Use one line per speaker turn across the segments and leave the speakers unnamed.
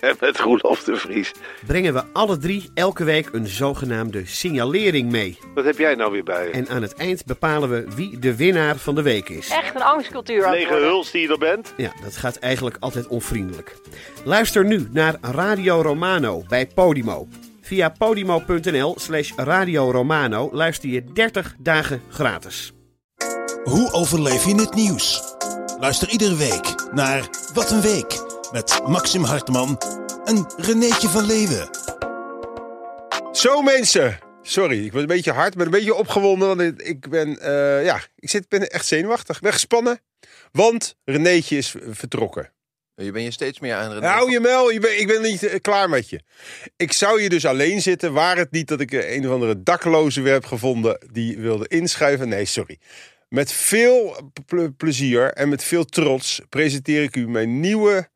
En met Roelof de Vries.
brengen we alle drie elke week een zogenaamde signalering mee.
Wat heb jij nou weer bij je?
En aan het eind bepalen we wie de winnaar van de week is.
Echt een angstcultuur. aan het
Lege
worden.
huls die je er bent?
Ja, dat gaat eigenlijk altijd onvriendelijk. Luister nu naar Radio Romano bij Podimo. Via podimo.nl slash Radio Romano luister je 30 dagen gratis.
Hoe overleef je het nieuws? Luister iedere week naar Wat een Week met Maxim Hartman en Renéetje van Leeuwen.
Zo mensen. Sorry, ik ben een beetje hard, ben een beetje opgewonden. Want ik- ik ben, eh, ja, ik zit, ben echt zenuwachtig. Ik ben gespannen, want Renéetje is eh, vertrokken.
Je bent je steeds meer aan René.
Hou je mel, je ben, ik ben niet eh, klaar met je. Ik zou je dus alleen zitten, waar het niet dat ik eh, een of andere dakloze weer heb gevonden die wilde inschrijven. Nee, sorry. Met veel ple- plezier en met veel trots presenteer ik u mijn nieuwe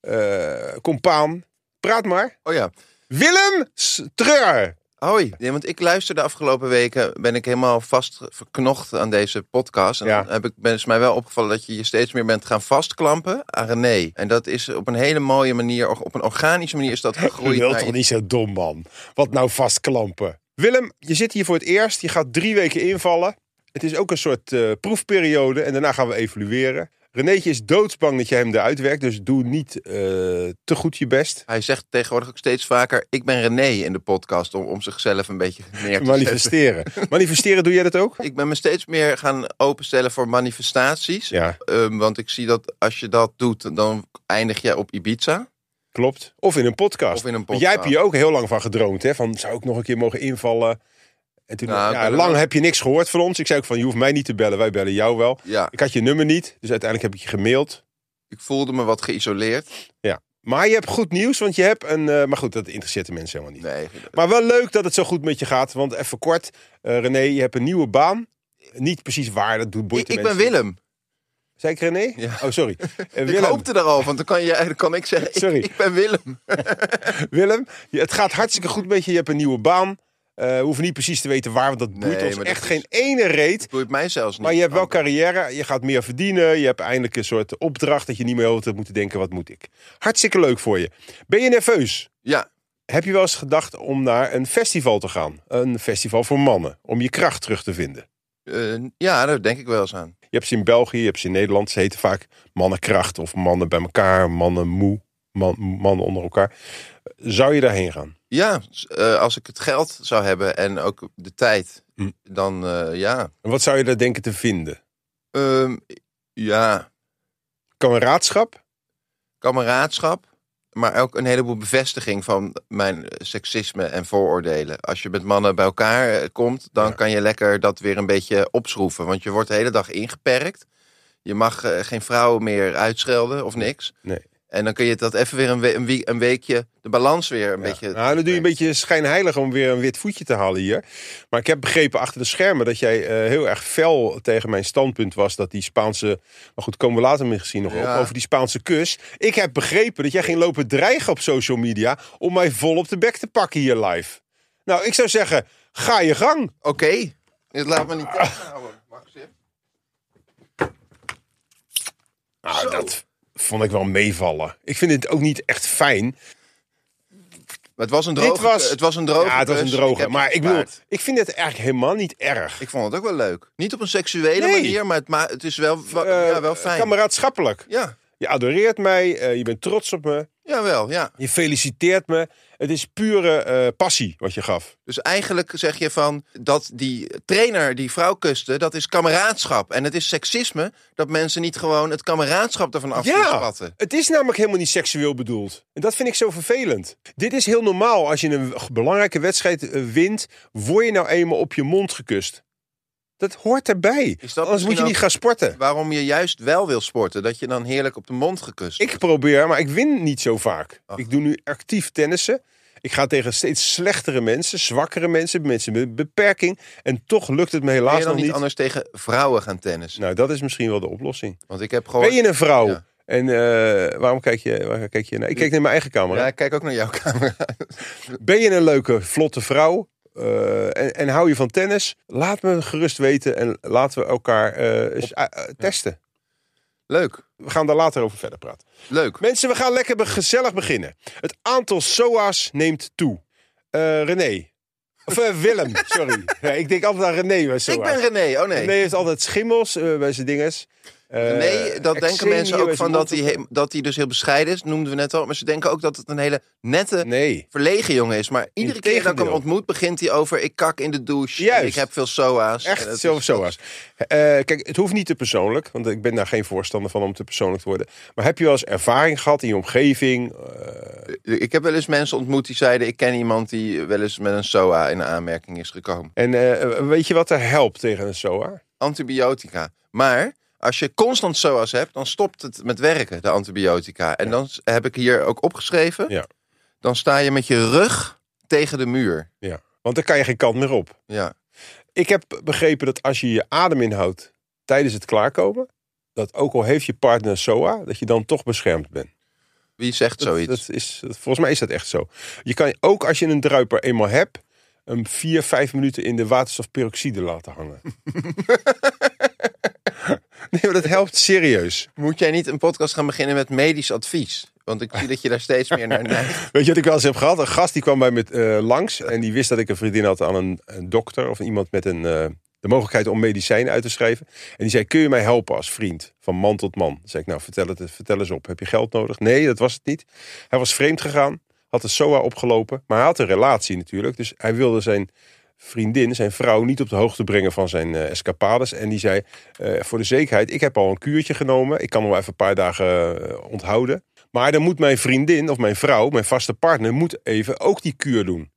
eh compaan. Praat maar.
Oh ja.
Willem Streur.
Hoi. Ja, want ik luister de afgelopen weken, ben ik helemaal vast verknocht aan deze podcast. En
Ja.
dan heb ik, ben, is mij wel opgevallen dat je je steeds meer bent gaan vastklampen aan René. En dat is op een hele mooie manier, op een organische manier is dat
Je
gegroeid. Nou,
wilt
naar
toch
iets-
niet zo dom, man? Wat nou vastklampen? Willem, je zit hier voor het eerst. Je gaat drie weken invallen. Het is ook een soort eh, proefperiode en daarna gaan we evalueren. Renéetje is doodsbang dat je hem eruit werkt, dus doe niet eh, te goed je best.
Hij zegt tegenwoordig ook steeds vaker, ik ben René in de podcast, om, om zichzelf een beetje neer te zetten.
Manifesteren. Manifesteren, doe jij dat ook?
Ik ben me steeds meer gaan openstellen voor manifestaties.
Ja,
Ehm, want ik zie dat als je dat doet, dan eindig je op Ibiza.
klopt. Of in een podcast.
Of in een
Want
podcast.
Jij hebt hier ook heel lang van gedroomd, hè? Van zou ik nog een keer mogen invallen? En toen,
Nou, ik
ja,
ben er
lang
wel-
heb je niks gehoord van ons. Ik zei ook van, je hoeft mij niet te bellen, wij bellen jou wel.
Ja,
Ik had je nummer niet, dus uiteindelijk heb ik je gemaild.
ik voelde me wat geïsoleerd.
Maar je hebt goed nieuws, want je hebt een. eh, maar goed, dat interesseert de mensen helemaal niet.
Nee,
Maar wel leuk dat het zo goed met je gaat. Want even kort, eh, René, je hebt een nieuwe baan. Niet precies waar, dat doet boeit
ik,
de
ik ben
mensen niet.
Willem.
Zei ik René?
Ja.
Oh, sorry. Eh,
Ik
Willem,
hoopte er al, want dan kan, je, dan kan ik zeggen, ik-
Sorry.
Ik, ben Willem.
Willem je- het gaat hartstikke goed met je. Je hebt een nieuwe baan. Eh, we hoeven niet precies te weten waar, want dat boeit
Nee,
ons
maar
echt
dat
geen
is-
ene reet.
Het boeit mij zelfs niet. Oh.
Maar je hebt wel
Want
carrière, je gaat meer verdienen. Je hebt eindelijk een soort opdracht dat je niet meer over te moeten denken, wat moet ik? Hartstikke leuk voor je. Ben je nerveus?
Ja,
Heb je wel eens gedacht om naar een festival te gaan? Een festival voor mannen, om je kracht terug te vinden.
eh, ja, daar denk ik wel eens aan.
Je hebt ze in België, je hebt ze in Nederland. Ze heten vaak mannenkracht of mannen bij elkaar, mannen moe, man- mannen onder elkaar. Zou je daarheen gaan?
Ja, s- eh, als ik het geld zou hebben en ook de tijd,
Hm.
dan eh, ja.
En wat zou je daar denken te vinden?
Ehm, ja,
Kameraadschap?
kameraadschap, maar ook een heleboel bevestiging van mijn seksisme en vooroordelen. Als je met mannen bij elkaar eh, komt, dan
Ja.
kan je lekker dat weer een beetje opschroeven. Want je wordt de hele dag ingeperkt. Je mag eh, geen vrouwen meer uitschelden of niks.
Nee.
En dan kun je dat even weer een, we- een, wie- een weekje, de balans weer een
Ja.
beetje...
nou, dan doe je een beetje schijnheilig om weer een wit voetje te halen hier. Maar ik heb begrepen achter de schermen dat jij eh, heel erg fel tegen mijn standpunt was dat die Spaanse. Maar goed, komen we later misschien nog
Ja.
op. Over die Spaanse kus. Ik heb begrepen dat jij ging lopen dreigen op social media om mij vol op de bek te pakken hier live. Nou, ik zou zeggen, ga je gang.
Oké, dit laat me
Ah.
niet tegenhouden, Maxim.
Nou,
Zo.
dat vond ik wel meevallen. Ik vind het ook niet echt fijn.
Maar het was een droge,
Dit was-
het was een droge
ja, het was een
kus.
droge.
heb
maar
het
ik bedoel,
gespaard.
ik vind het eigenlijk helemaal niet erg.
Ik vond het ook wel leuk. Niet op een seksuele
Nee.
manier, maar het, ma het is wel, wa-
Eh,
ja, wel fijn.
Kameraadschappelijk.
Ja,
Je adoreert mij, eh, je bent trots op me.
jawel, ja.
Je feliciteert me. Het is pure eh, passie wat je gaf.
Dus eigenlijk zeg je van dat die trainer die vrouw kuste, dat is kameraadschap. En het is seksisme dat mensen niet gewoon het kameraadschap ervan af
Ja.
spatten.
Het is namelijk helemaal niet seksueel bedoeld. En dat vind ik zo vervelend. Dit is heel normaal. Als je een belangrijke wedstrijd eh, wint, word je nou eenmaal op je mond gekust. Dat hoort erbij.
Is dat
Anders moet je
misschien
niet gaan sporten.
Waarom je juist wel wil sporten, dat je dan heerlijk op de mond gekust.
Ik probeer, maar ik win niet zo vaak.
Ach.
Ik doe nu actief tennissen. Ik ga tegen steeds slechtere mensen, zwakkere mensen, mensen met een beperking. En toch lukt het me
Kun
helaas
je dan
nog
niet,
niet.
anders tegen vrouwen gaan tennissen?
Nou, dat is misschien wel de oplossing.
Want ik heb gewoon...
Ben je een vrouw?
Oh, Ja.
En eh, waarom kijk je, waar kijk je naar? Ik kijk naar mijn eigen camera.
Ja, ik kijk ook naar jouw camera.
Ben je een leuke, vlotte vrouw? eh, en, en hou je van tennis? Laat me gerust weten en laten we elkaar eh, eens, eh, eh, testen.
Leuk,
We gaan daar later over verder praten.
leuk.
Mensen, we gaan lekker be- gezellig beginnen. Het aantal SOA's neemt toe. Eh, René. Of eh, Willem, sorry. Ja, ik denk altijd aan René bij SOA's.
Ik ben René, oh nee.
René heeft altijd schimmels eh, bij zijn dinges. Eh,
Nee, dat denken
eczeem
mensen
hier bij zijn
ook van dat
mond.
hij, he- dat hij dus heel bescheiden is, noemden we net al. Maar ze denken ook dat het een hele nette,
Nee.
verlegen jongen is. Maar iedere keer dat ik hem
Integendeel.
ontmoet, begint hij over ik kak in de douche. en
Juist.
Ik heb veel soa's. En dat
Echt
is-
zelfs SOA's. Eh, kijk, het hoeft niet te persoonlijk, want ik ben daar geen voorstander van om te persoonlijk te worden. Maar heb je wel eens ervaring gehad in je omgeving? Eh,
Ik heb wel eens mensen ontmoet die zeiden ik ken iemand die wel eens met een soa in aanmerking is gekomen.
en eh, weet je wat er helpt tegen een SOA?
Antibiotica. Maar... Als je constant soa's hebt, dan stopt het met werken, de antibiotica. En dan s- heb ik hier ook opgeschreven.
Ja.
Dan sta je met je rug tegen de muur.
Ja. Want dan kan je geen kant meer op.
Ja.
Ik heb begrepen dat als je je adem inhoudt tijdens het klaarkomen, dat ook al heeft je partner een SOA, dat je dan toch beschermd bent.
Wie zegt
Dat,
zoiets?
dat is, dat- volgens mij is dat echt zo. Je kan ook als je een druiper eenmaal hebt, hem vier, vijf minuten in de waterstofperoxide laten hangen. nee, maar dat helpt serieus.
Moet jij niet een podcast gaan beginnen met medisch advies? Want ik zie dat je daar steeds meer naar neigt.
Weet je wat ik wel eens heb gehad? Een gast die kwam bij me eh, langs en die wist dat ik een vriendin had aan een, een dokter of iemand met een, eh, de mogelijkheid om medicijnen uit te schrijven. En die zei, kun je mij helpen als vriend? Van man tot man. Dan zei ik, nou vertel, het, vertel eens op. Heb je geld nodig? Nee, dat was het niet. Hij was vreemd gegaan, had een SOA opgelopen, maar hij had een relatie natuurlijk. Dus hij wilde zijn vriendin, zijn vrouw, niet op de hoogte brengen van zijn eh, escapades. En die zei, eh, voor de zekerheid, ik heb al een kuurtje genomen. Ik kan hem wel even een paar dagen eh, onthouden. Maar dan moet mijn vriendin of mijn vrouw, mijn vaste partner, moet even ook die kuur doen.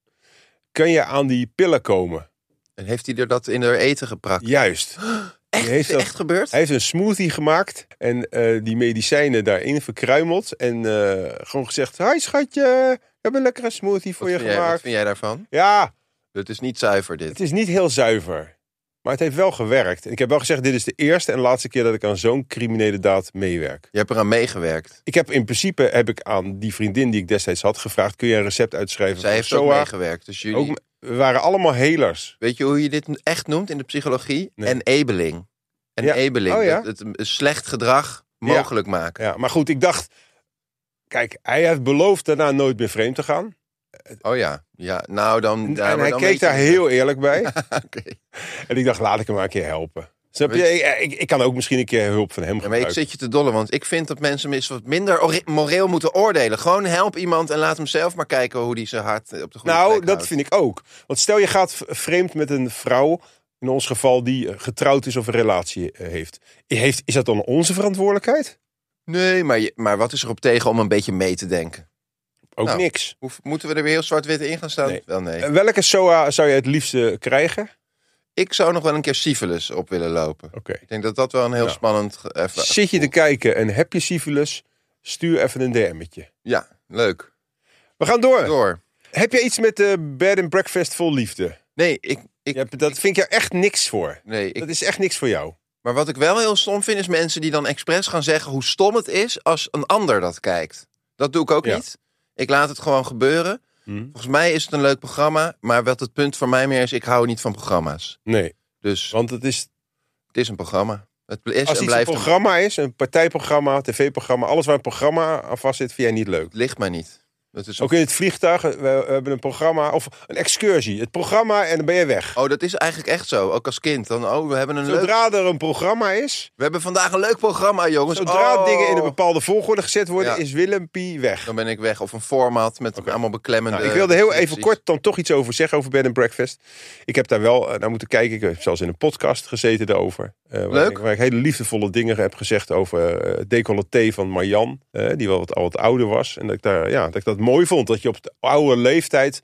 Kun je aan die pillen komen?
En heeft hij er dat in haar eten geprakt?
Juist.
Echt,
heeft
is
dat-
echt gebeurd?
Hij heeft een smoothie gemaakt en eh, die medicijnen daarin verkruimeld. En eh, gewoon gezegd, hi schatje, ik heb een lekkere smoothie voor
Wat
je
vind jij, wat
gemaakt.
vind jij daarvan?
Ja,
Het is niet zuiver dit.
Het is niet heel zuiver. Maar het heeft wel gewerkt. En ik heb wel gezegd, dit is de eerste en laatste keer dat ik aan zo'n criminele daad meewerk.
Je hebt eraan meegewerkt.
Ik heb in principe heb ik aan die vriendin die ik destijds had gevraagd... kun je een recept uitschrijven
Zij
voor
heeft ook
SOA?
meegewerkt. Dus jullie,
Ook- we waren allemaal helers.
weet je hoe je dit echt noemt in de psychologie?
Nee.
Enabling.
Ja.
Enabling.
Oh ja?
dat het, een slecht gedrag
Ja.
mogelijk maken.
Ja, maar goed, ik dacht... Kijk, hij heeft beloofd daarna nooit meer vreemd te gaan.
Oh ja. ja. Nou, dan... ja, maar
en hij
dan
keek
weet je
daar
het.
heel eerlijk bij.
Oké.
en ik dacht, laat ik hem maar een keer helpen. Snap
Weet
je? Ik, eh, ik, ik kan ook misschien een keer hulp van hem
Ja, maar ik
gebruiken.
zit je te dollen, want ik vind dat mensen mis wat minder ore- moreel moeten oordelen. Gewoon help iemand en laat hem zelf maar kijken hoe die zijn hart eh, op de goede plek
Nou, dat
houdt.
vind ik ook. Want stel je gaat v- vreemd met een vrouw, in ons geval die eh, getrouwd is of een relatie eh, heeft. heeft is dat dan onze verantwoordelijkheid?
Nee, maar, je- maar wat is erop tegen om een beetje mee te denken?
Ook
Nou,
niks.
Hoe, moeten we er weer heel zwart-wit in gaan staan?
Nee.
Wel nee.
Eh, Welke SOA zou je het liefste krijgen?
Ik zou nog wel een keer syfilis op willen lopen.
Oké.
Ik denk dat dat wel een heel
Ja.
spannend... ge- eh, even-
Zit je te kijken en heb je syfilis? Stuur even een DM'tje.
Ja, leuk.
We gaan door.
Door.
Heb je iets met eh bed and breakfast vol liefde?
Nee, ik...
Je
ik
hebt- dat vind ik jou echt niks voor.
Nee, ik,
Dat is echt niks voor jou.
maar wat ik wel heel stom vind, is mensen die dan expres gaan zeggen hoe stom het is als een ander dat kijkt. Dat doe ik ook
Ja. Hm.
niet. Ik laat het gewoon gebeuren. Volgens mij is het een leuk programma, maar wat het punt voor mij meer is, ik hou niet van programma's.
Nee,
Dus
want het is
het is een programma. Het is
Als
en
iets een
blijft een
programma is, een partijprogramma, tv-programma, alles waar een programma aan vast zit, vind jij niet leuk.
Het ligt mij niet. Dat is een-
Ook in het vliegtuig, eh, we, we hebben een programma of een excursie. Het programma en dan ben je weg.
Oh, dat is eigenlijk echt zo. Ook als kind. Dan, oh, we hebben, een leuk...
Zodra er een programma is,
we hebben vandaag een leuk programma, jongens.
zodra
Oh.
dingen in een bepaalde volgorde gezet worden,
Ja.
is Willem Pie weg.
Dan ben ik weg. Of een format met allemaal beklemmende...
Nou, ik wilde heel even
descripties.
kort dan toch iets over zeggen over Bed and Breakfast. Ik heb daar wel eh, naar moeten kijken. Ik heb zelfs in een podcast gezeten daarover. eh, waar,
Leuk.
Ik, waar ik hele liefdevolle dingen heb gezegd over eh, het decolleté van Marjan. eh, die wel wat, al wat ouder was. En dat ik, daar, ja, dat ik dat mooi vond. Dat je op de oude leeftijd,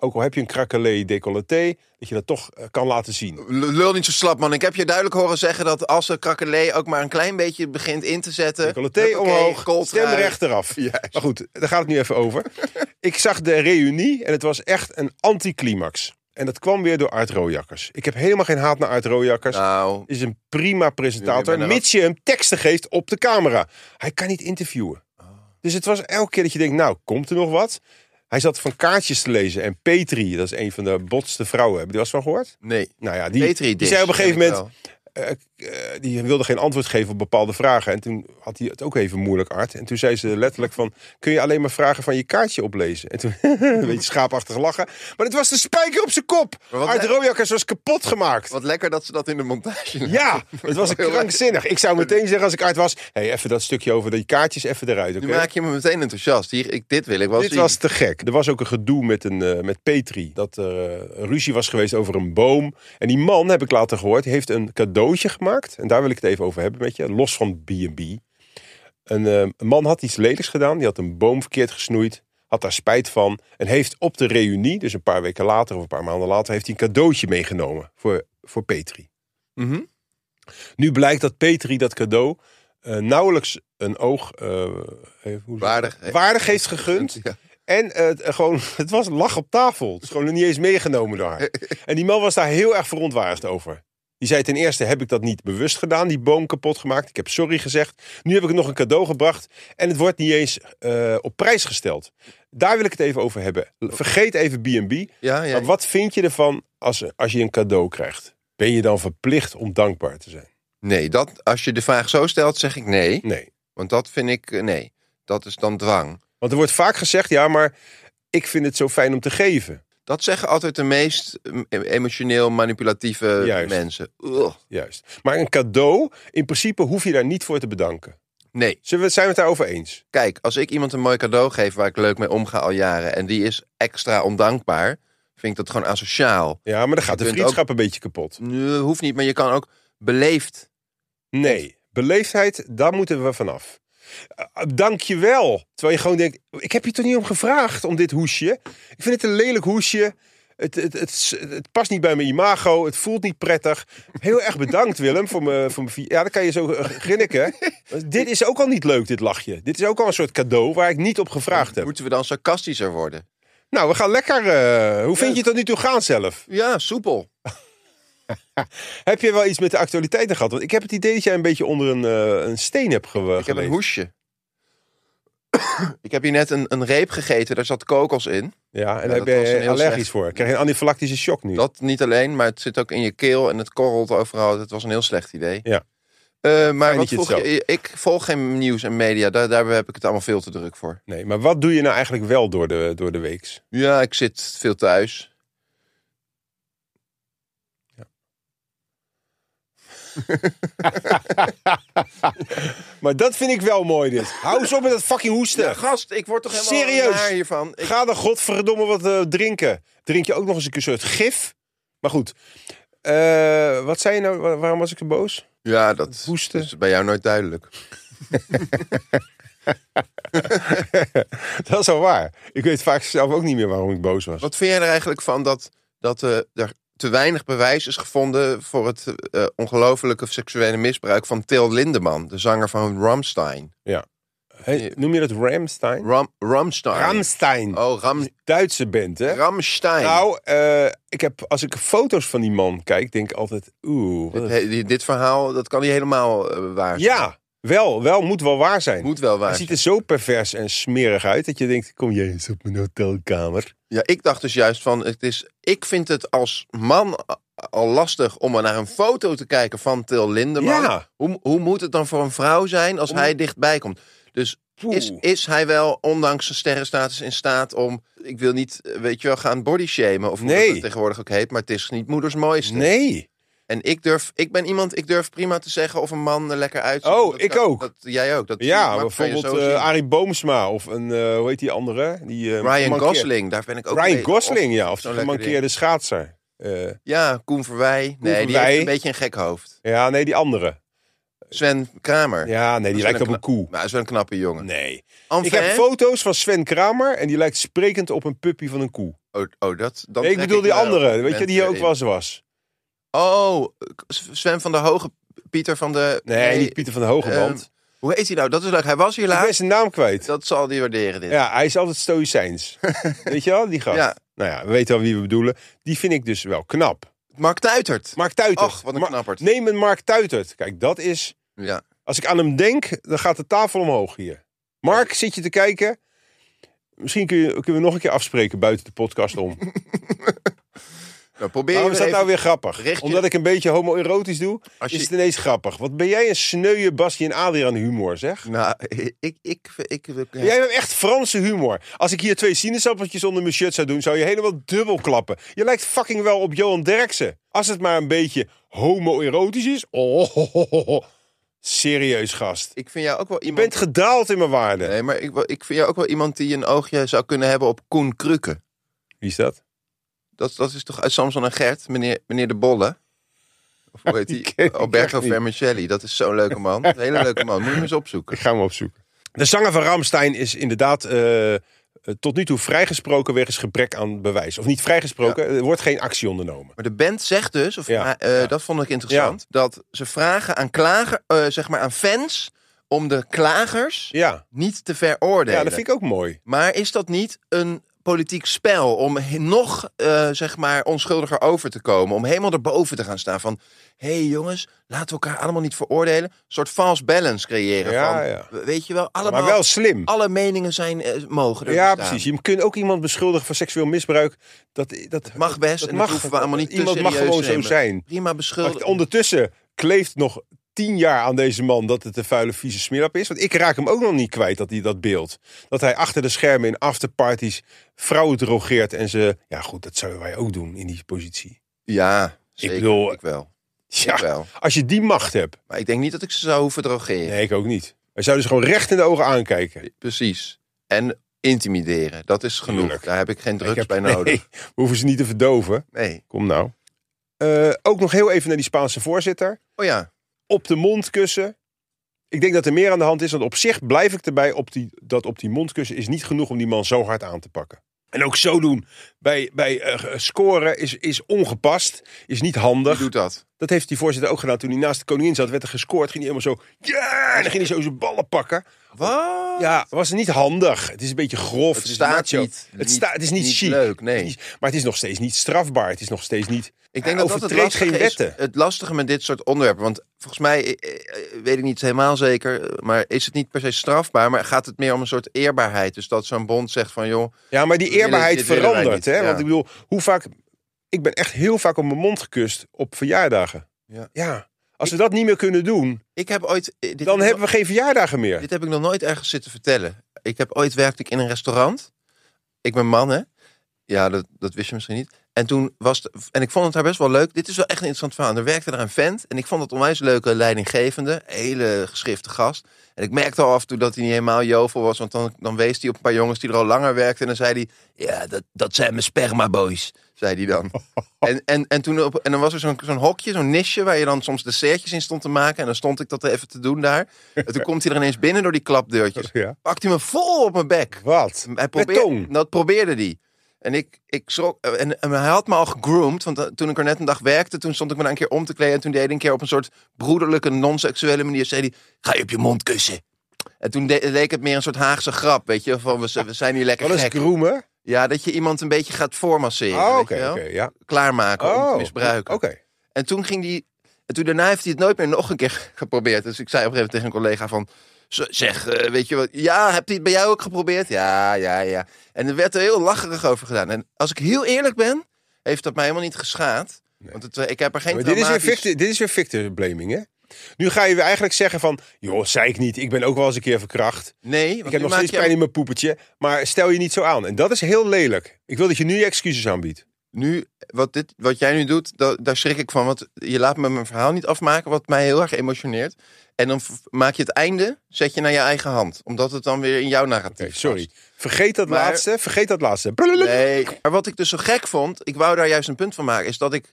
ook al heb je een krakelé decolleté, dat je dat toch eh, kan laten zien.
L- Lul niet zo slap, man. Ik heb je duidelijk horen zeggen dat als de krakelé ook maar een klein beetje begint in te zetten...
Decolleté
Huppakee,
omhoog,
kooltrui.
stem recht eraf. Maar goed, daar gaat het nu even over. Ik zag de reunie en het was echt een anticlimax. En dat kwam weer door Art Rooijakkers. Ik heb helemaal geen haat naar Art Rooijakkers.
Nou,
Is een prima
Jullie
presentator,
hebben
mits je hem teksten geeft op de camera. Hij kan niet interviewen.
Oh.
Dus het was elke keer dat je denkt, nou, komt er nog wat? Hij zat van kaartjes te lezen en Petri, dat is een van de botste vrouwen. Heb je er wel eens van gehoord?
nee.
Nou ja, die,
Petri
die
dish,
zei op een gegeven
ken ik
moment, eh, eh, die wilde geen antwoord geven op bepaalde vragen. En toen had hij het ook even moeilijk, Art. En toen zei ze letterlijk van, kun je alleen maar vragen van je kaartje oplezen? En toen een beetje schaapachtig lachen. Maar het was de spijker op zijn kop.
Maar wat-
Art Rooijakkers was kapot gemaakt.
Wat lekker dat ze dat in de montage
Ja, het was een
Heel erg.
krankzinnig. Ik zou meteen zeggen als ik Art was, hey, even dat stukje over die kaartjes even eruit.
Nu
oké?
maak je me meteen enthousiast. Hier, ik, dit wil ik wel
Dit
zien.
was te gek. Er was ook een gedoe met, een, eh, met Petri. Dat er eh, een ruzie was geweest over een boom. En die man, heb ik later gehoord, heeft een cadeautje gemaakt. En daar wil ik het even over hebben met je. Los van B&B. Een, eh, een man had iets lelijks gedaan. Die had een boom verkeerd gesnoeid. Had daar spijt van. En heeft op de reunie, dus een paar weken later of een paar maanden later... heeft hij een cadeautje meegenomen voor, voor Petri.
Mhm.
Nu blijkt dat Petri dat cadeau eh, nauwelijks een oog... eh, hoe- hoe-
Waardig.
waardig heeft gegund.
Ja.
En eh, het- eh, gewoon, het was een lach op tafel. Het is gewoon niet eens meegenomen door haar. En die man was daar heel erg verontwaardigd over. Die zei ten eerste, heb ik dat niet bewust gedaan, die boom kapot gemaakt. Ik heb sorry gezegd. Nu heb ik nog een cadeau gebracht. En het wordt niet eens eh, op prijs gesteld. Daar wil ik het even over hebben. Vergeet even B&B.
Ja, ja.
Maar wat vind je ervan als, als je een cadeau krijgt? Ben je dan verplicht om dankbaar te zijn?
Nee, dat, als je de vraag zo stelt, zeg ik nee.
Nee.
Want dat vind ik, eh, nee, dat is dan dwang.
Want er wordt vaak gezegd, ja, maar ik vind het zo fijn om te geven.
Dat zeggen altijd de meest mm, emotioneel manipulatieve
Juist.
mensen. Ugh.
Juist. Maar een cadeau, in principe hoef je daar niet voor te bedanken.
Nee,
Zullen we, zijn we het daarover eens?
kijk, als ik iemand een mooi cadeau geef waar ik leuk mee omga al jaren... en die is extra ondankbaar, vind ik dat gewoon asociaal.
Ja, maar dan gaat
Je
de
kunt
vriendschap een beetje kapot.
Nee, hoeft niet, maar je kan ook beleefd.
Nee, beleefdheid, daar moeten we vanaf. Eh, Dank je wel. Terwijl je gewoon denkt, ik heb je toch niet om gevraagd om dit hoesje? Ik vind het een lelijk hoesje. Het, het, het, het past niet bij mijn imago. Het voelt niet prettig. Heel erg bedankt, Willem, voor mijn... Voor mijn vi- ja, dan kan je zo eh, grinniken. dit is ook al niet leuk, dit lachje. Dit is ook al een soort cadeau waar ik niet op gevraagd heb.
Moeten we dan sarcastischer worden?
Nou, we gaan lekker... eh, hoe vind
Ja.
je het tot nu toe gaan zelf?
Ja, soepel.
Heb je wel iets met de actualiteiten gehad? Want ik heb het idee dat jij een beetje onder een, eh, een steen hebt ge
Ik heb een
geleefd.
hoesje. ik heb hier net een, een reep gegeten, daar zat kokos in.
Ja, en
Ja,
daar
dat was
ben
een
je
heel
allergisch
slecht-
voor. Krijg je een anafylactische shock nu?
Dat niet alleen, maar het zit ook in je keel en het korrelt overal. Het was een heel slecht idee.
Ja.
Eh, maar
Fijn
wat
dat je het
vroeg je, ik volg geen nieuws en media. Daar, daar heb ik het allemaal veel te druk voor.
Nee, maar wat doe je nou eigenlijk wel door de, door de weeks?
Ja, ik zit veel thuis.
Maar dat vind ik wel mooi dit. Hou eens op met dat fucking hoesten.
Ja, gast, ik word toch helemaal
Serieus?
naar hiervan. Ik,
Ga dan godverdomme wat eh, drinken. Drink je ook nog eens een soort gif? Maar goed. Eh, wat zei je nou? Wa- Waarom was ik zo boos?
ja, dat
Hoesten.
is bij jou nooit duidelijk.
Dat is al waar. Ik weet vaak zelf ook niet meer waarom ik boos was.
Wat vind jij er eigenlijk van dat, dat eh, er te weinig bewijs is gevonden voor het eh, ongelofelijke seksuele misbruik van Til Lindeman, de zanger van Ramstein?
Hey, noem je dat Ramstein?
Ram, Ramstein.
Ramstein.
Oh, Ram,
Duitse band, hè?
Ramstein.
Nou, eh, ik heb, als ik foto's van die man kijk, denk ik altijd, oeh. wat
dit,
een-
he- dit, dit verhaal, dat kan niet helemaal eh, waar zijn.
Ja, wel, wel, moet wel waar zijn.
Moet wel waar
Hij ziet er zo pervers en smerig uit dat je denkt, kom jij eens op mijn hotelkamer.
Ja, ik dacht dus juist van, het is, ik vind het als man a- al lastig om naar een foto te kijken van Til Lindeman.
Ja.
Hoe, hoe moet het dan voor een vrouw zijn als hij dichtbij komt? Dus is, is hij wel, ondanks zijn sterrenstatus, in staat om... Ik wil niet, eh, weet je wel, gaan bodyshamen of hoe
Nee.
dat het tegenwoordig ook heet. Maar het is niet moeders mooiste.
Nee.
En ik durf, ik ben iemand, ik durf prima te zeggen of een man er lekker uitziet.
Oh,
Dat
ik
kan-
ook.
Dat, jij ook. Dat
Ja,
dat kan je
bijvoorbeeld
zo
eh,
zien.
Arie Boomsma of een, eh, hoe heet die andere? Die, eh,
Ryan
gemankeerd-
Gosling, daar ben ik ook mee-
Ryan
of-
Gosling, ja. Of
zo'n
de
lekker ding.
gemankeerde schaatser. Eh,
Ja, Koen Verwij. Nee, die
Verwij.
heeft een beetje een gek hoofd.
ja, nee, die andere.
Sven Kramer.
Ja, nee,
Dat
die
is
lijkt
wel
op een koe.
Maar hij is wel een knappe jongen.
Nee.
Enfin,
Ik heb
hè?
foto's van Sven Kramer en die lijkt sprekend op een puppy van een koe.
oh, oh, dat, dat
Nee, ik
trek
bedoel die
wel
andere, weet je,
mensen
die ook
in.
was was.
Oh, Sven van de Hoge, Pieter van de... ehm,
Nee, niet Pieter van de Hogeband.
Hoe heet hij nou? Dat is leuk. Hij was hier
Ik ben
laatst.
zijn naam kwijt.
Dat zal die waarderen, dit.
Ja, hij is altijd stoïcijns. Weet je wel, die gast.
Ja.
Nou ja, we weten wel wie we bedoelen. Die vind ik dus wel knap.
Mark Tuitert.
Mark Tuitert.
Och, wat een
Ma-
knappert.
Neem een Mark Tuitert. Kijk, dat is...
Ja.
Als ik aan hem denk, dan gaat de tafel omhoog hier. Mark, zit je te kijken? Misschien kun je, kunnen we nog een keer afspreken buiten de podcast om.
Nou, probeer
Waarom is dat
even-
nou weer grappig?
Richt je-
Omdat ik een beetje homoerotisch doe,
Als je-
is het ineens grappig. Wat ben jij een sneuwe Basje en Adriaan humor, zeg.
Nou, ik... ik, ik, ik, ja.
Jij hebt echt Franse humor. Als ik hier twee sinaasappeltjes onder mijn shirt zou doen, zou je helemaal dubbel klappen. Je lijkt fucking wel op Johan Derksen. Als het maar een beetje homoerotisch is. Oh, ho, ho, ho, ho. serieus gast.
ik vind jou ook wel
Je
iemand...
bent gedaald in mijn waarde.
Nee, maar ik, wel- ik vind jou ook wel iemand die een oogje zou kunnen hebben op Koen Krukke.
Wie is dat?
Dat, dat is toch uit Samson en Gert, meneer, meneer de Bolle? Of hoe heet
Die ken
die?
ik
Alberto
echt niet.
Vermicelli. Dat is zo'n leuke man. Een hele leuke man. Moet je hem eens opzoeken.
Ik ga hem opzoeken. De zanger van Ramstein is inderdaad eh, eh, tot nu toe vrijgesproken wegens gebrek aan bewijs. Of niet vrijgesproken, er wordt geen actie ondernomen.
Maar de band zegt dus, of
Ja,
eh,
ja.
dat vond ik interessant, dat ze vragen aan klager, eh, zeg maar aan fans om de klagers
Ja,
niet te veroordelen.
ja dat vind ik ook mooi.
Maar is dat niet een politiek spel om he- nog eh, zeg maar onschuldiger over te komen, om helemaal erboven te gaan staan van, hé hey jongens, laten we elkaar allemaal niet veroordelen, een soort false balance creëren
Ja,
van,
ja.
we- weet je wel, allemaal,
Maar wel slim.
alle meningen zijn eh, mogen er
Ja,
bestaan.
precies. Je kunt ook iemand beschuldigen van seksueel misbruik. Dat, dat,
Mag best
dat
en dat hoeven we allemaal niet te
Iemand mag
serieus
gewoon
te
zo
nemen.
zijn.
Prima
Maar
beschuldigd.
ondertussen kleeft nog tien jaar aan deze man dat het een vuile, vieze smeerlap is. Want ik raak hem ook nog niet kwijt, dat, hij, dat beeld. Dat hij achter de schermen in afterparties vrouwen drogeert en ze... Ja goed, dat zouden wij ook doen in die positie.
Ja, zeker.
bedoel-
ik wel. Ik
Ja,
wel.
als je die macht hebt.
Maar ik denk niet dat ik ze zou hoeven drogeren.
Nee, ik ook niet. Hij zou dus gewoon recht in de ogen aankijken.
Precies. En intimideren, dat is genoeg.
Tuurlijk.
Daar heb ik geen drugs
Ik heb-
bij
Nee,
nodig.
we hoeven ze niet te verdoven.
Nee.
Kom nou. Eh, ook nog heel even naar die Spaanse voorzitter.
Oh ja,
op de mondkussen. Ik denk dat er meer aan de hand is. Want op zich blijf ik erbij op die, dat op die mondkussen is niet genoeg om die man zo hard aan te pakken. En ook zo doen bij, bij eh, scoren is, is ongepast, is niet
wie
handig.
doet dat?
Dat heeft die voorzitter ook gedaan toen hij naast de koningin zat. Werd er gescoord, ging hij helemaal zo... Ja, en dan ging hij zo zijn ballen pakken.
Wat?
Ja, was niet handig. Het is een beetje grof.
Het
is
staat
macho.
niet-
Het,
niet-
sta, het is niet,
niet
chic.
leuk, nee.
Het is niet- maar het is nog steeds niet strafbaar. Het is nog steeds niet...
Ik denk
Hij
dat dat het
overtreedt
lastige
geen
is.
wetten.
Het lastige met dit soort onderwerpen. Want volgens mij, eh, eh, weet ik niet helemaal zeker, maar is het niet per se strafbaar. Maar gaat het meer om een soort eerbaarheid. Dus dat zo'n bond zegt van, joh,
Ja, maar die
Dit willen-
eerbaarheid
dit willen wij
verandert.
niet,
Hè?
ja.
Want ik bedoel, hoe vaak. Ik ben echt heel vaak op mijn mond gekust op verjaardagen.
Ja.
Als we dat niet meer kunnen doen,
ik heb ooit... eh, Dit
dan
heb ik
hebben we geen verjaardagen meer.
Dit heb ik nog nooit ergens zitten vertellen. Ik heb ooit werkte ik in een restaurant. Ik ben man, hè? Ja, dat, dat wist je misschien niet. En toen was de- en ik vond het daar best wel leuk. Dit is wel echt een interessant verhaal. En Er werkte daar een vent en ik vond het een onwijs leuke leidinggevende, hele geschrifte gast. En ik merkte al af en toe dat hij niet helemaal jovel was, want dan, dan wees hij op een paar jongens die er al langer werkten en dan zei hij: "Ja, dat, dat zijn mijn spermaboys." zei hij dan. En, en, en, toen op, en dan was er zo'n zo'n hokje, zo'n nisje, waar je dan soms dessertjes in stond te maken. En dan stond ik dat even te doen daar. En toen komt hij er ineens binnen door die klapdeurtjes.
Ja.
Pakt hij me vol op mijn bek.
Wat?
Hij
Met
probeerde,
tong.
dat probeerde hij. En ik, ik schrok. eh, En, en hij had me al gegroomd. Want eh, toen ik er net een dag werkte, toen stond ik me daar een keer om te kleden. En toen deed hij een keer op een soort broederlijke, non-seksuele manier. Zei hij, ga je op je mond kussen. En toen de- leek het meer een soort Haagse grap, weet je. Van, we, z- we zijn hier lekker
Wat is
gek.
groemen?
Ja, dat je iemand een beetje gaat voormasseren.
Oh,
weet
oké.
je
oké,
wel?
ja.
Klaarmaken om
Oh,
te misbruiken.
Oké.
En toen ging die. En toen daarna heeft hij het nooit meer nog een keer geprobeerd. Dus ik zei op een gegeven moment tegen een collega van. "Z- Zeg, eh, weet je wat? Ja, heb hij het bij jou ook geprobeerd? Ja, ja, ja. En er werd er heel lacherig over gedaan. En als ik heel eerlijk ben, heeft dat mij helemaal niet geschaad. Want het, eh, ik heb er geen
Maar dit, is weer
traumatisch-
victor, dit is weer victor blaming, hè? Nu ga je weer eigenlijk zeggen van... joh, zei ik niet. Ik ben ook wel eens een keer verkracht.
Nee, want
Ik heb
nu
nog
maak
steeds
je-
pijn in mijn poepetje. Maar stel je niet zo aan. En dat is heel lelijk. Ik wil dat je nu je excuses aanbiedt.
Nu, wat, dit, wat jij nu doet, da- daar schrik ik van. Want je laat me mijn verhaal niet afmaken, wat mij heel erg emotioneert. En dan v- maak je het einde, zet je naar je eigen hand. Omdat het dan weer in jouw narratief
Oké, sorry.
past.
Vergeet dat
Maar-
laatste. Vergeet dat laatste.
Nee, maar wat ik dus zo gek vond, ik wou daar juist een punt van maken, is dat ik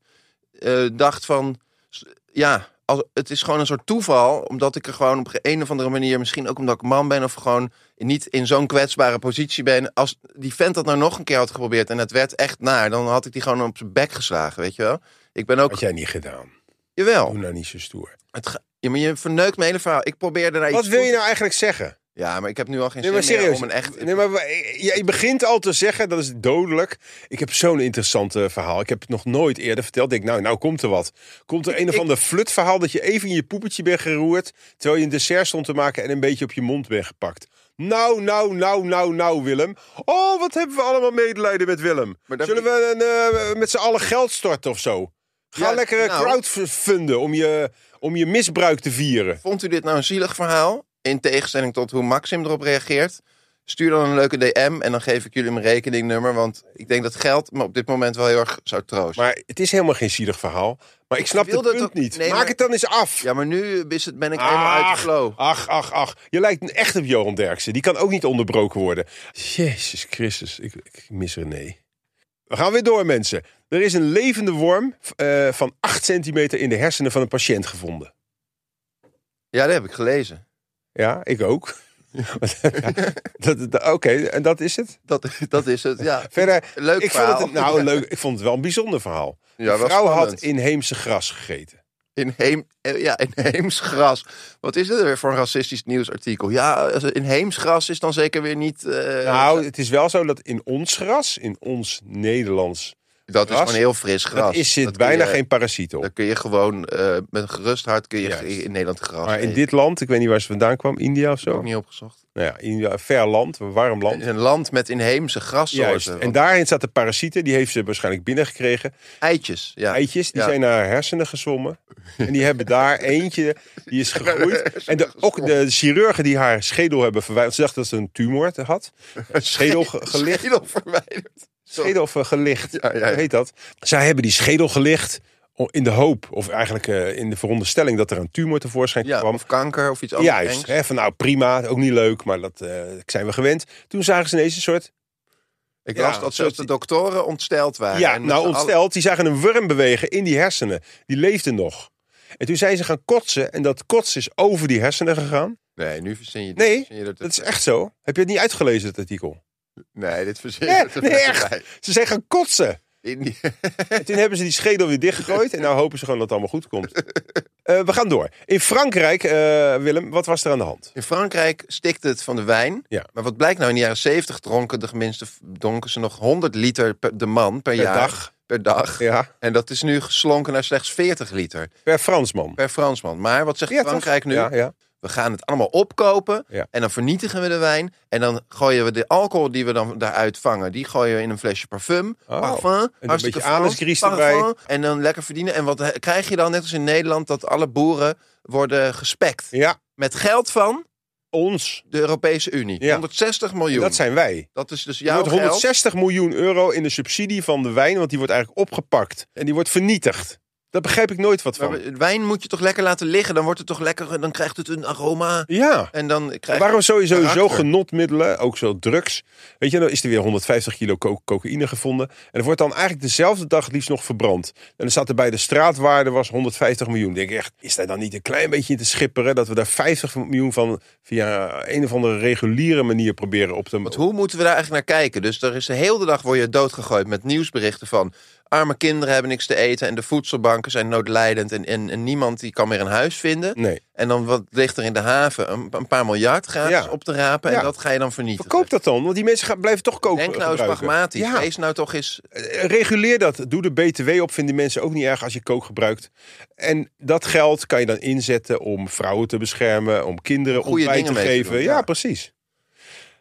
eh, dacht van, s- ja, als, het is gewoon een soort toeval, omdat ik er gewoon op een of andere manier, misschien ook omdat ik man ben of gewoon niet in zo'n kwetsbare positie ben, als die vent dat nou nog een keer had geprobeerd en het werd echt naar, dan had ik die gewoon op zijn bek geslagen, weet je wel? Ik ben ook,
Had jij niet gedaan.
jawel,
Doe nou niet zo stoer.
het, ge- Ja, maar je verneukt mijn hele verhaal. Ik probeerde naar
Wat
iets
wil je
goeds-
nou eigenlijk zeggen?
Ja, maar ik heb nu al geen
Nee,
zin
maar
meer
serieus.
om een echt...
Nee, maar we- je je begint al te zeggen, dat is dodelijk. Ik heb zo'n interessant eh, verhaal. Ik heb het nog nooit eerder verteld. Ik denk, nou, nou komt er wat. Komt er een of
ik-
ander flutverhaal dat je even in je poepetje bent geroerd... terwijl je een dessert stond te maken en een beetje op je mond bent gepakt. Nou, nou, nou, nou, nou, Willem. Oh, wat hebben we allemaal medelijden met Willem.
Maar dat-
Zullen we een, eh, met z'n allen geld storten of zo? Ga
Ja,
lekker eh,
nou.
crowdfunden om je, om je misbruik te vieren.
Vond u dit nou een zielig verhaal? In tegenstelling tot hoe Maxim erop reageert? Stuur dan een leuke DM en dan geef ik jullie mijn rekeningnummer. Want ik denk dat geld me op dit moment wel heel erg zou troosten.
Maar het is helemaal geen zielig verhaal. Maar ik snap
wil
het
dat
punt
ook-
niet.
nee,
Maak
maar-
het dan eens af.
Ja, maar nu is het,
Ah.
ben ik helemaal uit de flow.
Ach, ach, ach. Je lijkt echt op Johan Derksen. Die kan ook niet onderbroken worden. Jezus Christus, ik, ik mis René. We gaan weer door, mensen. Er is een levende worm eh, van 8 centimeter in de hersenen van een patiënt gevonden.
Ja, dat heb ik gelezen.
Ja, ik ook. Ja, dat- dat- Oké, en dat is het.
Dat, dat is het, ja.
Verder,
Leuk
ik
verhaal.
vond het, nou, een leuk, ik vond het wel een bijzonder verhaal.
Ja,
de
wel
vrouw had
spannend.
inheemse gras gegeten.
Inheem, eh, ja, inheems gras. Wat is dit weer voor een racistisch nieuwsartikel? Ja, als het inheems gras is dan zeker weer niet... eh,
nou, het is wel zo dat in ons gras, in ons Nederlands
dat
gras,
is gewoon heel fris gras.
Dat is, zit
Dat kun
bijna
je-
geen parasiet op.
Dan kun je gewoon eh, met een gerust hart kun je
Juist.
in Nederland gras
maar in
eten.
dit land, ik weet niet waar ze vandaan kwam, India of
heb ik
zo.
ook niet opgezocht.
Nou ja, India, een ver land, een warm
Het
land.
is een land met inheemse grassoorten.
Juist. En
want
daarin zat de parasieten, die heeft ze waarschijnlijk binnengekregen.
eitjes. Ja.
Eitjes, die
Ja.
zijn naar haar hersenen gezwommen. En die hebben daar eentje, die is gegroeid. En de, ook de chirurgen die haar schedel hebben verwijderd. Ze dachten dat ze een tumor had. Schedel ge- gelicht.
Schedel verwijderd.
Schedel of, eh, gelicht,
Ja, ja, ja.
Hoe heet dat? Zij hebben die schedel gelicht o- in de hoop, of eigenlijk eh, in de veronderstelling dat er een tumor tevoorschijn
Ja,
kwam.
of kanker of iets anders.
Juist,
engs.
hè, van nou prima, ook niet leuk, maar dat eh, zijn we gewend. Toen zagen ze ineens een soort,
Ik
Ja,
las dat zelfs
zoals
de
die-
doktoren ontsteld waren.
ja,
En
nou
dat ze
ontsteld, die zagen een worm bewegen in die hersenen. Die leefde nog. En toen zijn ze gaan kotsen en dat kotsen is over die hersenen gegaan.
alle- Nee, nu verzin je,
Nee,
verzin je er te-
Dat is echt zo. Heb je het niet uitgelezen, het artikel?
Nee, dit verzin je
Nee,
er te
nee,
ver
echt.
bij.
Ze zijn gaan kotsen.
In die-
En toen hebben ze die schedel weer dichtgegooid en nou hopen ze gewoon dat het allemaal goed komt. Eh, we gaan door. In Frankrijk, eh, Willem, wat was er aan de hand?
In Frankrijk stikte het van de wijn.
Ja.
Maar wat blijkt nou, in de jaren 70 dronken de geminste dronken ze nog 100 liter per, de man per,
Per
jaar.
dag.
Per dag.
Ja,
En dat is nu geslonken naar slechts 40 liter
per Fransman.
per Fransman. Maar wat zegt
Ja, toch?
Frankrijk nu?
Ja, ja.
We gaan het allemaal opkopen
Ja.
en dan vernietigen we de wijn. En dan gooien we de alcohol die we dan daaruit vangen, die gooien we in een flesje parfum.
Oh,
Parfum,
een
hartstikke
beetje
Frans,
anusgries
parfum,
erbij.
En dan lekker verdienen. En wat he- krijg je dan, net als in Nederland, dat alle boeren worden gespekt.
ja,
Met geld van
ons.
de Europese Unie.
Ja.
160 miljoen.
Dat zijn wij.
Dat is dus
Er
jouw
wordt
geld.
160 miljoen euro in de subsidie van de wijn, want die wordt eigenlijk opgepakt. En die wordt vernietigd. Daar begrijp ik nooit wat
Maar
van.
we- wijn moet je toch lekker laten liggen. Dan wordt het toch lekker. Dan krijgt het een aroma.
Ja.
En dan krijg je-
Waarom sowieso zo
karakter.
genotmiddelen, ook zo drugs? Weet je, dan is er weer 150 kilo co- cocaïne gevonden. En dat wordt dan eigenlijk dezelfde dag het liefst nog verbrand. En dan staat er bij de straatwaarde was 150 miljoen. Dan denk ik echt, is daar dan niet een klein beetje in te schipperen... dat we daar 50 miljoen van via een of andere reguliere manier proberen op te...
Want hoe moeten we daar eigenlijk naar kijken? Dus er is de hele dag word je doodgegooid met nieuwsberichten van arme kinderen hebben niks te eten en de voedselbanken zijn noodlijdend en, en, en niemand die kan meer een huis vinden.
Nee.
En dan wat ligt er in de haven? Een, een paar miljard gratis
Ja.
op te rapen en
Ja.
dat ga je dan vernietigen.
Verkoop dat dan, want die mensen gaan, blijven toch koken.
Denk nou eens
gebruiken.
pragmatisch.
Ja.
Wees nou toch eens...
Eh, reguleer dat. Doe de BTW op. Vinden mensen ook niet erg als je kook gebruikt. En dat geld kan je dan inzetten om vrouwen te beschermen, om kinderen
Goeie
ontbijt te
dingen mee te
geven.
doen,
ja.
ja.
precies.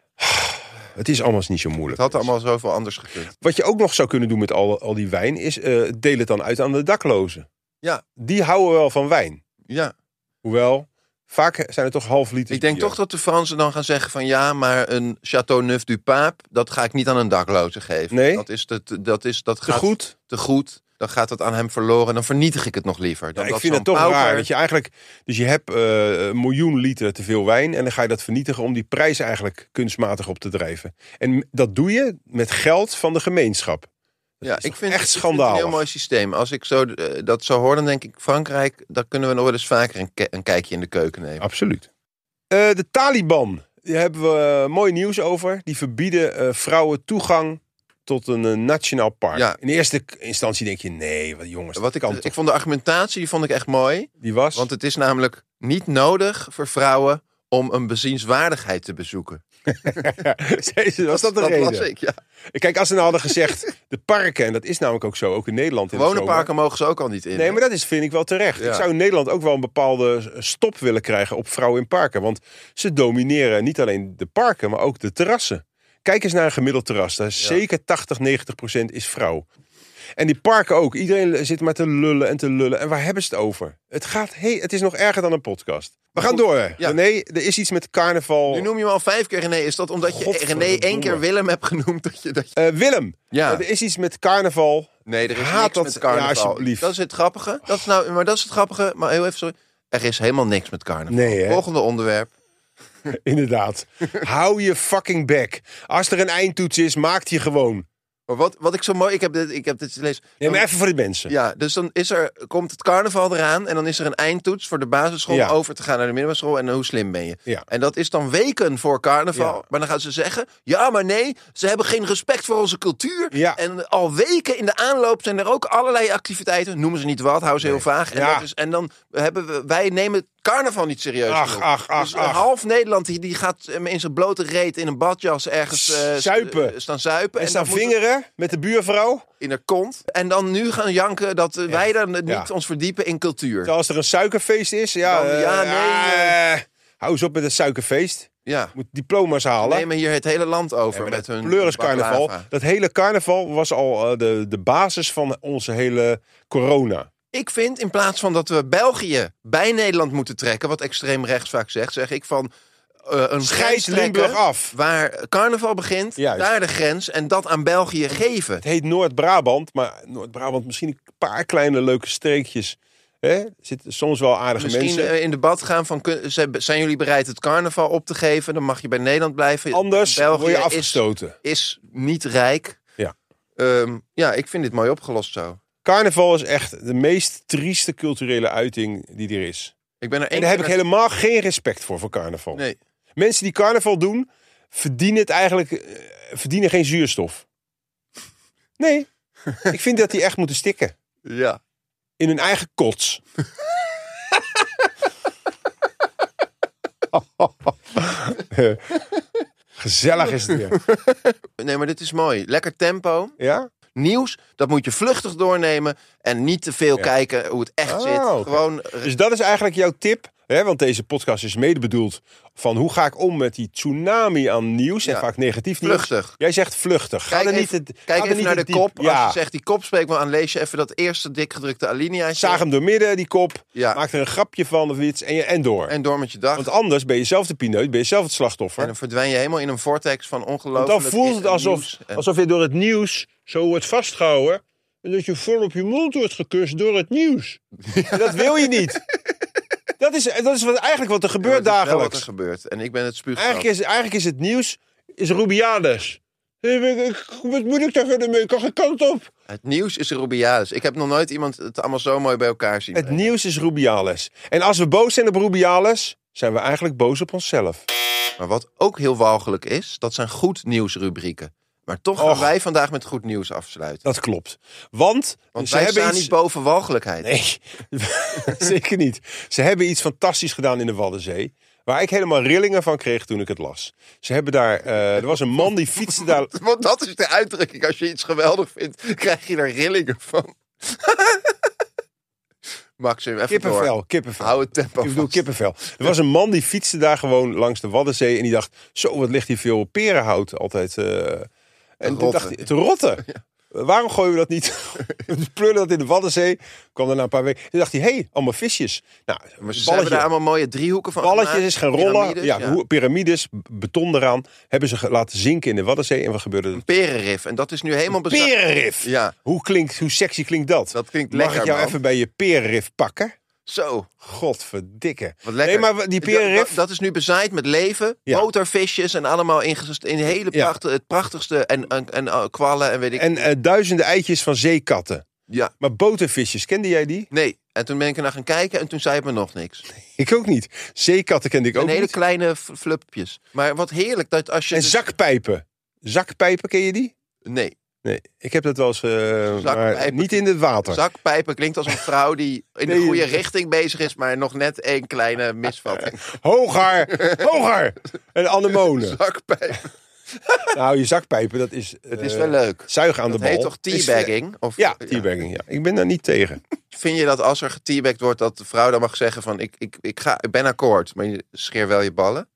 Het is allemaal niet zo moeilijk.
Het had allemaal zoveel anders gekund.
Wat je ook nog zou kunnen doen met al, al die wijn is eh, deel het dan uit aan de daklozen.
Ja.
Die houden wel van wijn.
Ja.
Hoewel, vaak zijn het toch half liter.
Ik denk
bier.
toch dat de Fransen dan gaan zeggen van ja, maar een Chateau Neuf du Pape, dat ga ik niet aan een dakloze geven.
Nee.
Dat is, te, te- dat is, dat
te
gaat,
goed.
te goed. Dan gaat dat aan hem verloren. Dan vernietig ik het nog liever.
Ja,
Dan
ik
dat
vind
zo'n
het toch
pauper-
raar dat je eigenlijk... Dus je hebt eh, een miljoen liter te veel wijn... en dan ga je dat vernietigen om die prijs eigenlijk kunstmatig op te drijven. En m- dat doe je met geld van de gemeenschap.
Ja,
is
ik
toch
vind
echt
ik vind het
schandaal.
een heel mooi systeem. Als ik zo, eh, dat zo hoor, dan denk ik Frankrijk, daar kunnen we nog wel eens vaker een, ke- een kijkje in de keuken nemen.
Absoluut. Eh, de Taliban, daar hebben we eh, mooi nieuws over. Die verbieden eh, vrouwen toegang tot een eh, nationaal park.
Ja.
In de eerste k- instantie denk je, nee, wat jongens,
Wat ik,
kan toch?
ik vond de argumentatie die vond ik echt mooi.
Die was...
Want het is namelijk niet nodig voor vrouwen om een bezienswaardigheid te bezoeken.
Zei ze, was dat de
dat
reden?
las ik, ja.
Kijk, als ze nou hadden gezegd, de parken, en dat is namelijk ook zo, ook in Nederland. In de
Gewone
zomer.
parken mogen ze ook al niet in.
Nee, maar dat is, vind ik wel terecht.
Ja.
Ik zou in Nederland ook wel een bepaalde stop willen krijgen op vrouwen in parken. Want ze domineren niet alleen de parken, maar ook de terrassen. Kijk eens naar een gemiddeld terras. Daar is
Ja.
zeker 80, 90 procent is vrouw. En die parken ook. Iedereen zit maar te lullen en te lullen. En waar hebben ze het over? Het, gaat, hey, het is nog erger dan een podcast. We gaan
Goed,
door.
ja.
Nee, er is iets met carnaval.
Nu noem je hem al vijf keer René. Is dat omdat je
Godverdomme.
René één keer Willem hebt genoemd? Dat je, dat je...
Eh, Willem,
Ja.
er is iets met carnaval.
Nee, er is
Haat
niks
dat-
met
Ja,
carnaval.
alsjeblieft.
Dat is het grappige. Dat is nou, maar dat is het grappige. Maar heel even, sorry. Er is helemaal niks met carnaval.
Nee, hè?
Volgende onderwerp.
Inderdaad. Hou je fucking back. Als er een eindtoets is, maak die gewoon.
Maar wat, wat ik zo mooi... Ik heb dit, ik heb dit gelezen.
Neem maar even voor de mensen.
Ja, dus dan is er, komt het carnaval eraan en dan is er een eindtoets voor de basisschool
Ja.
om over te gaan naar de middelbare school en hoe slim ben je.
Ja.
En dat is dan weken voor carnaval,
Ja.
maar dan gaan ze zeggen, ja maar nee, ze hebben geen respect voor onze cultuur.
Ja.
En al weken in de aanloop zijn er ook allerlei activiteiten, noemen ze niet wat, houden ze heel vaag. En,
Ja.
dat is, en dan hebben we, wij nemen carnaval niet serieus.
Ach,
genoeg.
ach, ach,
dus
ach.
half Nederland die, die gaat eh, in zijn blote reet in een badjas ergens eh, st-
Zuipen.
eh, staan zuipen.
En staan
dan moeten-
vingeren met de buurvrouw.
in haar kont. En dan nu gaan janken dat eh, wij dan niet
Ja.
ons verdiepen in cultuur.
Terwijl Als er een suikerfeest is, ja.
Dan- ja,
eh,
nee,
ah, hou eens op met het suikerfeest.
ja.
Moet diploma's halen.
Nemen hier het hele land over met hun
pleuriscarnaval.
baklava.
Dat hele carnaval was al eh, de, de basis van onze hele corona.
Ik vind in plaats van dat we België bij Nederland moeten trekken, wat extreem rechts vaak zegt, zeg ik van eh, een grens
Scheids
trekken
Limburg af.
Waar carnaval begint,
Juist.
daar de grens en dat aan België geven.
Het heet Noord-Brabant, maar Noord-Brabant misschien een paar kleine leuke streekjes. Hè? Er zitten soms wel aardige
Misschien
mensen.
eh, in debat gaan van kun- zijn- zijn jullie bereid het carnaval op te geven? Dan mag je bij Nederland blijven.
Anders
België
word je
is
afgestoten.
is niet rijk.
Ja.
Ehm, ja, ik vind dit mooi opgelost zo.
Carnaval is echt de meest trieste culturele uiting die er is.
Ik ben er
En
één
daar heb
keer
ik helemaal geen respect voor, voor carnaval.
naar- Nee.
Mensen die carnaval doen, verdienen het eigenlijk eh, verdienen geen zuurstof. Nee, ik vind dat die echt moeten stikken.
Ja.
In hun eigen kots. Gezellig is het weer.
Nee, maar dit is mooi. Lekker tempo.
Ja?
Nieuws, dat moet je vluchtig doornemen. En niet te veel
Ja.
kijken hoe het echt
Oh,
zit.
oké.
Gewoon eh,
Dus dat is eigenlijk jouw tip. Hè? Want deze podcast is mede bedoeld van hoe ga ik om met die tsunami aan nieuws. En
Ja.
vaak negatief nieuws.
vluchtig.
Jij zegt vluchtig. Ga
Kijk
er niet
even,
het- ga
kijk
er
even
niet
naar de
het diep-
kop.
Ja.
Als je zegt die kop, spreek me aan. Lees je even dat eerste dikgedrukte alinea.
Zaag hem door midden, die kop.
Ja.
Maak er een grapje van of iets. En, je, en door.
En door met je dag.
Want anders ben je zelf de pineut, ben je zelf het
en
slachtoffer.
dan verdwijn je helemaal in een vortex van
Want
ongelooflijk
dan voelt het alsof,
nieuws en-
alsof je door het nieuws zo wordt vastgehouden. En dat je vol op je mond wordt gekust door het nieuws. En Dat wil je niet. Dat is, dat is wat, eigenlijk wat er
Ja, maar
gebeurt
het is wel
dagelijks.
Wat er gebeurt. En ik ben het spuugstaf.
Eigenlijk is, eigenlijk is het nieuws is Rubiales. Eh, ik- ik- Wat moet ik daar verder mee? Ik kan geen kant op.
Het nieuws is Rubiales. Ik heb nog nooit iemand het allemaal zo mooi bij elkaar zien.
Het nieuws is Rubiales. En als we boos zijn op Rubiales, zijn we eigenlijk boos op onszelf.
Maar wat ook heel walgelijk is, dat zijn goed nieuwsrubrieken. Maar toch gaan
Och.
wij vandaag met goed nieuws afsluiten.
Dat klopt. Want,
Want
ze
wij
hebben
staan
iets...
niet boven walgelijkheid.
Nee, zeker niet. Ze hebben iets fantastisch gedaan in de Waddenzee. Waar ik helemaal rillingen van kreeg toen ik het las. Ze hebben daar... eh, er was een man die fietste daar...
Want dat is de uitdrukking. Als je iets geweldig vindt, krijg je er rillingen van. Maxim, even door.
Kippenvel, kippenvel.
Hou het tempo
Ik bedoel
vast.
kippenvel. Er was een man die fietste daar gewoon langs de Waddenzee. En die dacht, zo wat ligt hier veel perenhout altijd. eh, en toen
rotten.
dacht hij, te rotten. Waarom gooien we dat niet? We pleuren dat in de Waddenzee. Kwam er na een paar weken. Toen dacht hij, hé, hey, allemaal visjes. Nou,
Maar ze hebben
balletje,
daar allemaal mooie driehoeken van
balletjes
gemaakt.
is gaan rollen.
Piramides,
Ja, hoe- piramides, b- beton eraan. Hebben ze ge- laten zinken in de Waddenzee. En wat gebeurde er?
Perenrif. En dat is nu helemaal bezig.
Perenrif!
Ja.
Hoe, klinkt, hoe sexy klinkt dat?
Dat klinkt
Mag
lekker,
ik jou
man.
even bij je perenrif pakken?
Zo.
Godverdikke.
Wat lekker.
Nee, maar die perenrif...
Dat, dat is nu bezaaid met leven,
Ja.
botervisjes en allemaal in, in hele
Ja.
prachtige, het prachtigste en, en, en eh, kwallen en weet ik.
En eh, duizenden eitjes van zeekatten.
ja,
Maar botervisjes, kende jij die?
nee. En toen ben ik er naar gaan kijken en toen zei het me nog niks.
Ik ook niet. Zeekatten kende ik ook
en hele
niet.
kleine f- flupjes. Maar wat heerlijk dat als je...
En
dus-
zakpijpen. Zakpijpen, ken je die?
Nee.
Nee, ik heb dat wel eens... eh, maar
Zakpijpen.
niet in het water.
Zakpijpen klinkt als een vrouw die in de
Nee.
goede richting bezig is, maar nog net één kleine misvatting.
Hoger! Hoger! En anemonen.
Zakpijpen.
Nou, je zakpijpen, dat is...
Het is wel leuk.
Zuigen aan
Dat
de bal.
heet toch
Is- eh,
teabagging? Of,
Ja, teabagging. Ja. Ik ben daar niet tegen.
Vind je dat als er geteabagged wordt, dat de vrouw dan mag zeggen van ik, ik, ik, ga, ik ben akkoord, maar je scheer wel je ballen?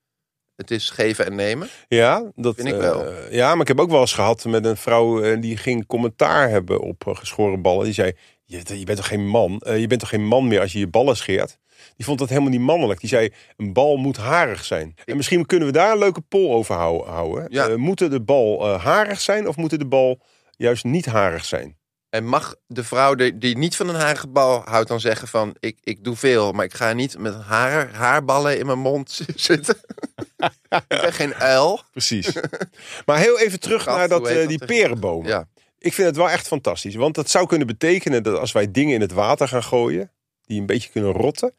Het is geven en nemen.
Ja, dat
Vind ik
eh,
wel.
ja, maar ik heb ook wel eens gehad met een vrouw eh, die ging commentaar hebben op eh, geschoren ballen. Die zei: je, je bent toch geen man? Eh, je bent toch geen man meer als je je ballen scheert? Die vond dat helemaal niet mannelijk. Die zei: een bal moet harig zijn. En misschien kunnen we daar een leuke poll over hou- houden.
Ja.
Eh, moeten de bal eh, harig zijn of moeten de bal juist niet harig zijn?
En mag de vrouw die, die niet van een harige bal houdt dan zeggen van... ik, ik doe veel, maar ik ga niet met haar, haarballen in mijn mond zitten. ik ben geen uil.
Precies. maar heel even terug
Kat,
naar dat,
hoe heet
eh,
dat
die
tegenwoordig?
perenbomen.
Ja,
Ik vind het wel echt fantastisch. Want dat zou kunnen betekenen dat als wij dingen in het water gaan gooien. die een beetje kunnen rotten.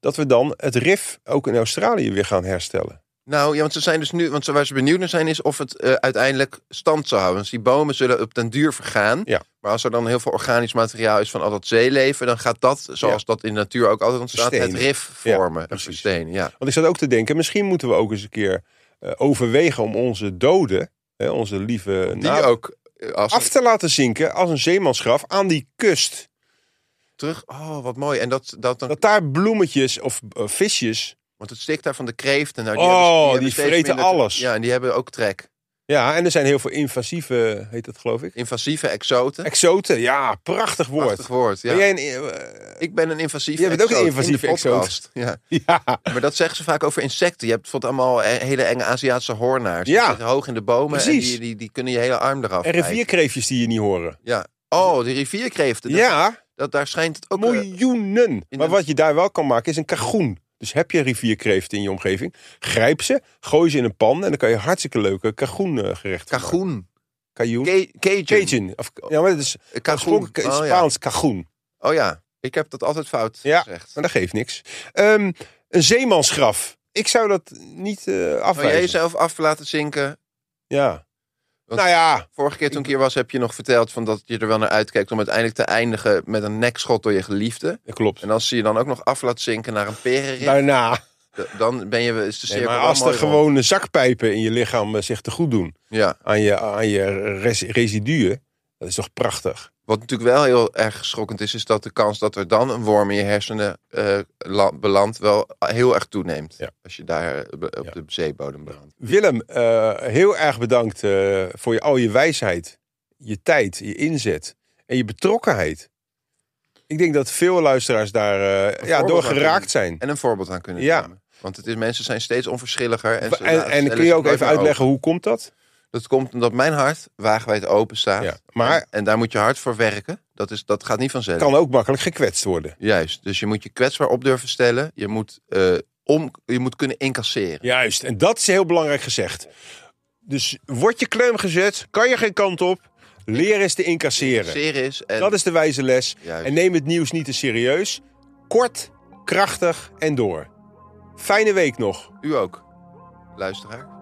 dat we dan het RIF ook in Australië weer gaan herstellen.
nou, ja, want ze zijn dus nu... want ze- waar ze benieuwd naar zijn is of het eh, uiteindelijk stand zou houden. Dus die bomen zullen op den duur vergaan.
Ja.
Maar als er dan heel veel organisch materiaal is van al dat zeeleven... dan gaat dat, zoals dat in de natuur ook altijd ontstaat... het
Verstenen.
rif vormen, een
precies.
versteen. Ja.
Want ik zat ook te denken. misschien moeten we ook eens een keer eh, overwegen om onze doden. Hè, onze lieve
Die
na-
ook... eh, Als
af te laten zinken als een zeemansgraf aan die kust.
terug. Oh, wat mooi. En dat, dat dan
Dat daar bloemetjes of eh, visjes.
Want het stikt daar van de kreeften. Nou,
Oh,
hebben-
die
hebben steeds
vreten
minder-
alles.
Ja, en die hebben ook trek.
Ja, en er zijn heel veel invasieve, heet dat geloof ik.
Invasieve exoten.
Exoten, ja, prachtig woord.
Prachtig woord. Ja.
Ben jij een, eh,
Ik ben een invasieve
Jij bent ook een
exoot in de
invasieve exoot.
podcast. Ja.
ja,
Maar dat zeggen ze vaak over insecten. Je hebt bijvoorbeeld allemaal eh, hele enge Aziatische hoornaars. Die
Ja.
zitten hoog in de bomen en
Precies.
die, die, die kunnen je hele arm eraf.
en
bijten.
rivierkreefjes die je niet horen.
Ja. Oh, die rivierkreeften. Dat-
ja.
Dat, daar schijnt het ook... eh,
Miljoenen.
in
Maar
de-
wat je daar wel kan maken is een kagoen. Dus heb je rivierkreeften in je omgeving, grijp ze, gooi ze in een pan en dan kan je hartstikke leuke eh, kagoengerechten gerecht
Kagoen.
Kagoen.
Ke- Cajun.
Cajun. Of, ja, maar dat is
Eh, Kagoen.
oorspronkelijk in
Oh, ja.
Spaans kagoen.
oh ja, ik heb dat altijd fout
Ja.
gezegd.
Maar dat geeft niks. Ehm, een zeemansgraf. Ik zou dat niet eh
Zou Oh, jij
afwijzen.
jezelf af laten zinken
ja.
Want-
Nou ja,
Vorige keer toen ik hier was, heb je nog verteld van dat je er wel naar uitkijkt om uiteindelijk te eindigen met een nekschot door je geliefde.
dat klopt.
En als ze je dan ook nog af laat zinken naar een perenrit,
Daarna.
d- dan ben je is de
Nee,
cirkel
maar
wel
als
mooi
de
rond.
gewone zakpijpen in je lichaam eh, zich te goed doen
Ja,
aan je, aan je res- residuen, dat is toch prachtig.
wat natuurlijk wel heel erg schokkend is, is dat de kans dat er dan een worm in je hersenen eh, la- belandt wel heel erg toeneemt.
Ja.
Als je daar eh, be- op
Ja.
de zeebodem belandt.
Willem, eh, heel erg bedankt eh, voor je, al je wijsheid, je tijd, je inzet en je betrokkenheid. Ik denk dat veel luisteraars daar eh ja,
voorbeeld
door
aan
geraakt zijn.
En een voorbeeld aan kunnen
Ja.
nemen. Want het is, mensen zijn steeds onverschilliger. En, ze
En,
laten-
en
stellen
kun je
zich
ook
nooit
even
meer open.
uitleggen hoe komt dat?
Dat komt omdat mijn hart wagenwijd open staat.
Ja, maar-
en, en daar moet je hard voor werken. Dat, is, dat gaat niet vanzelf.
Kan ook makkelijk gekwetst worden.
Juist. Dus je moet je kwetsbaar op durven stellen. Je moet, eh, om, je moet kunnen incasseren.
Juist, en dat is heel belangrijk gezegd. Dus word je klem gezet, kan je geen kant op, leer eens te incasseren.
Incasseren is. En,
Dat is de wijze les.
Juist.
En neem het nieuws niet te serieus. Kort, krachtig en door. Fijne week nog.
U ook, luisteraar.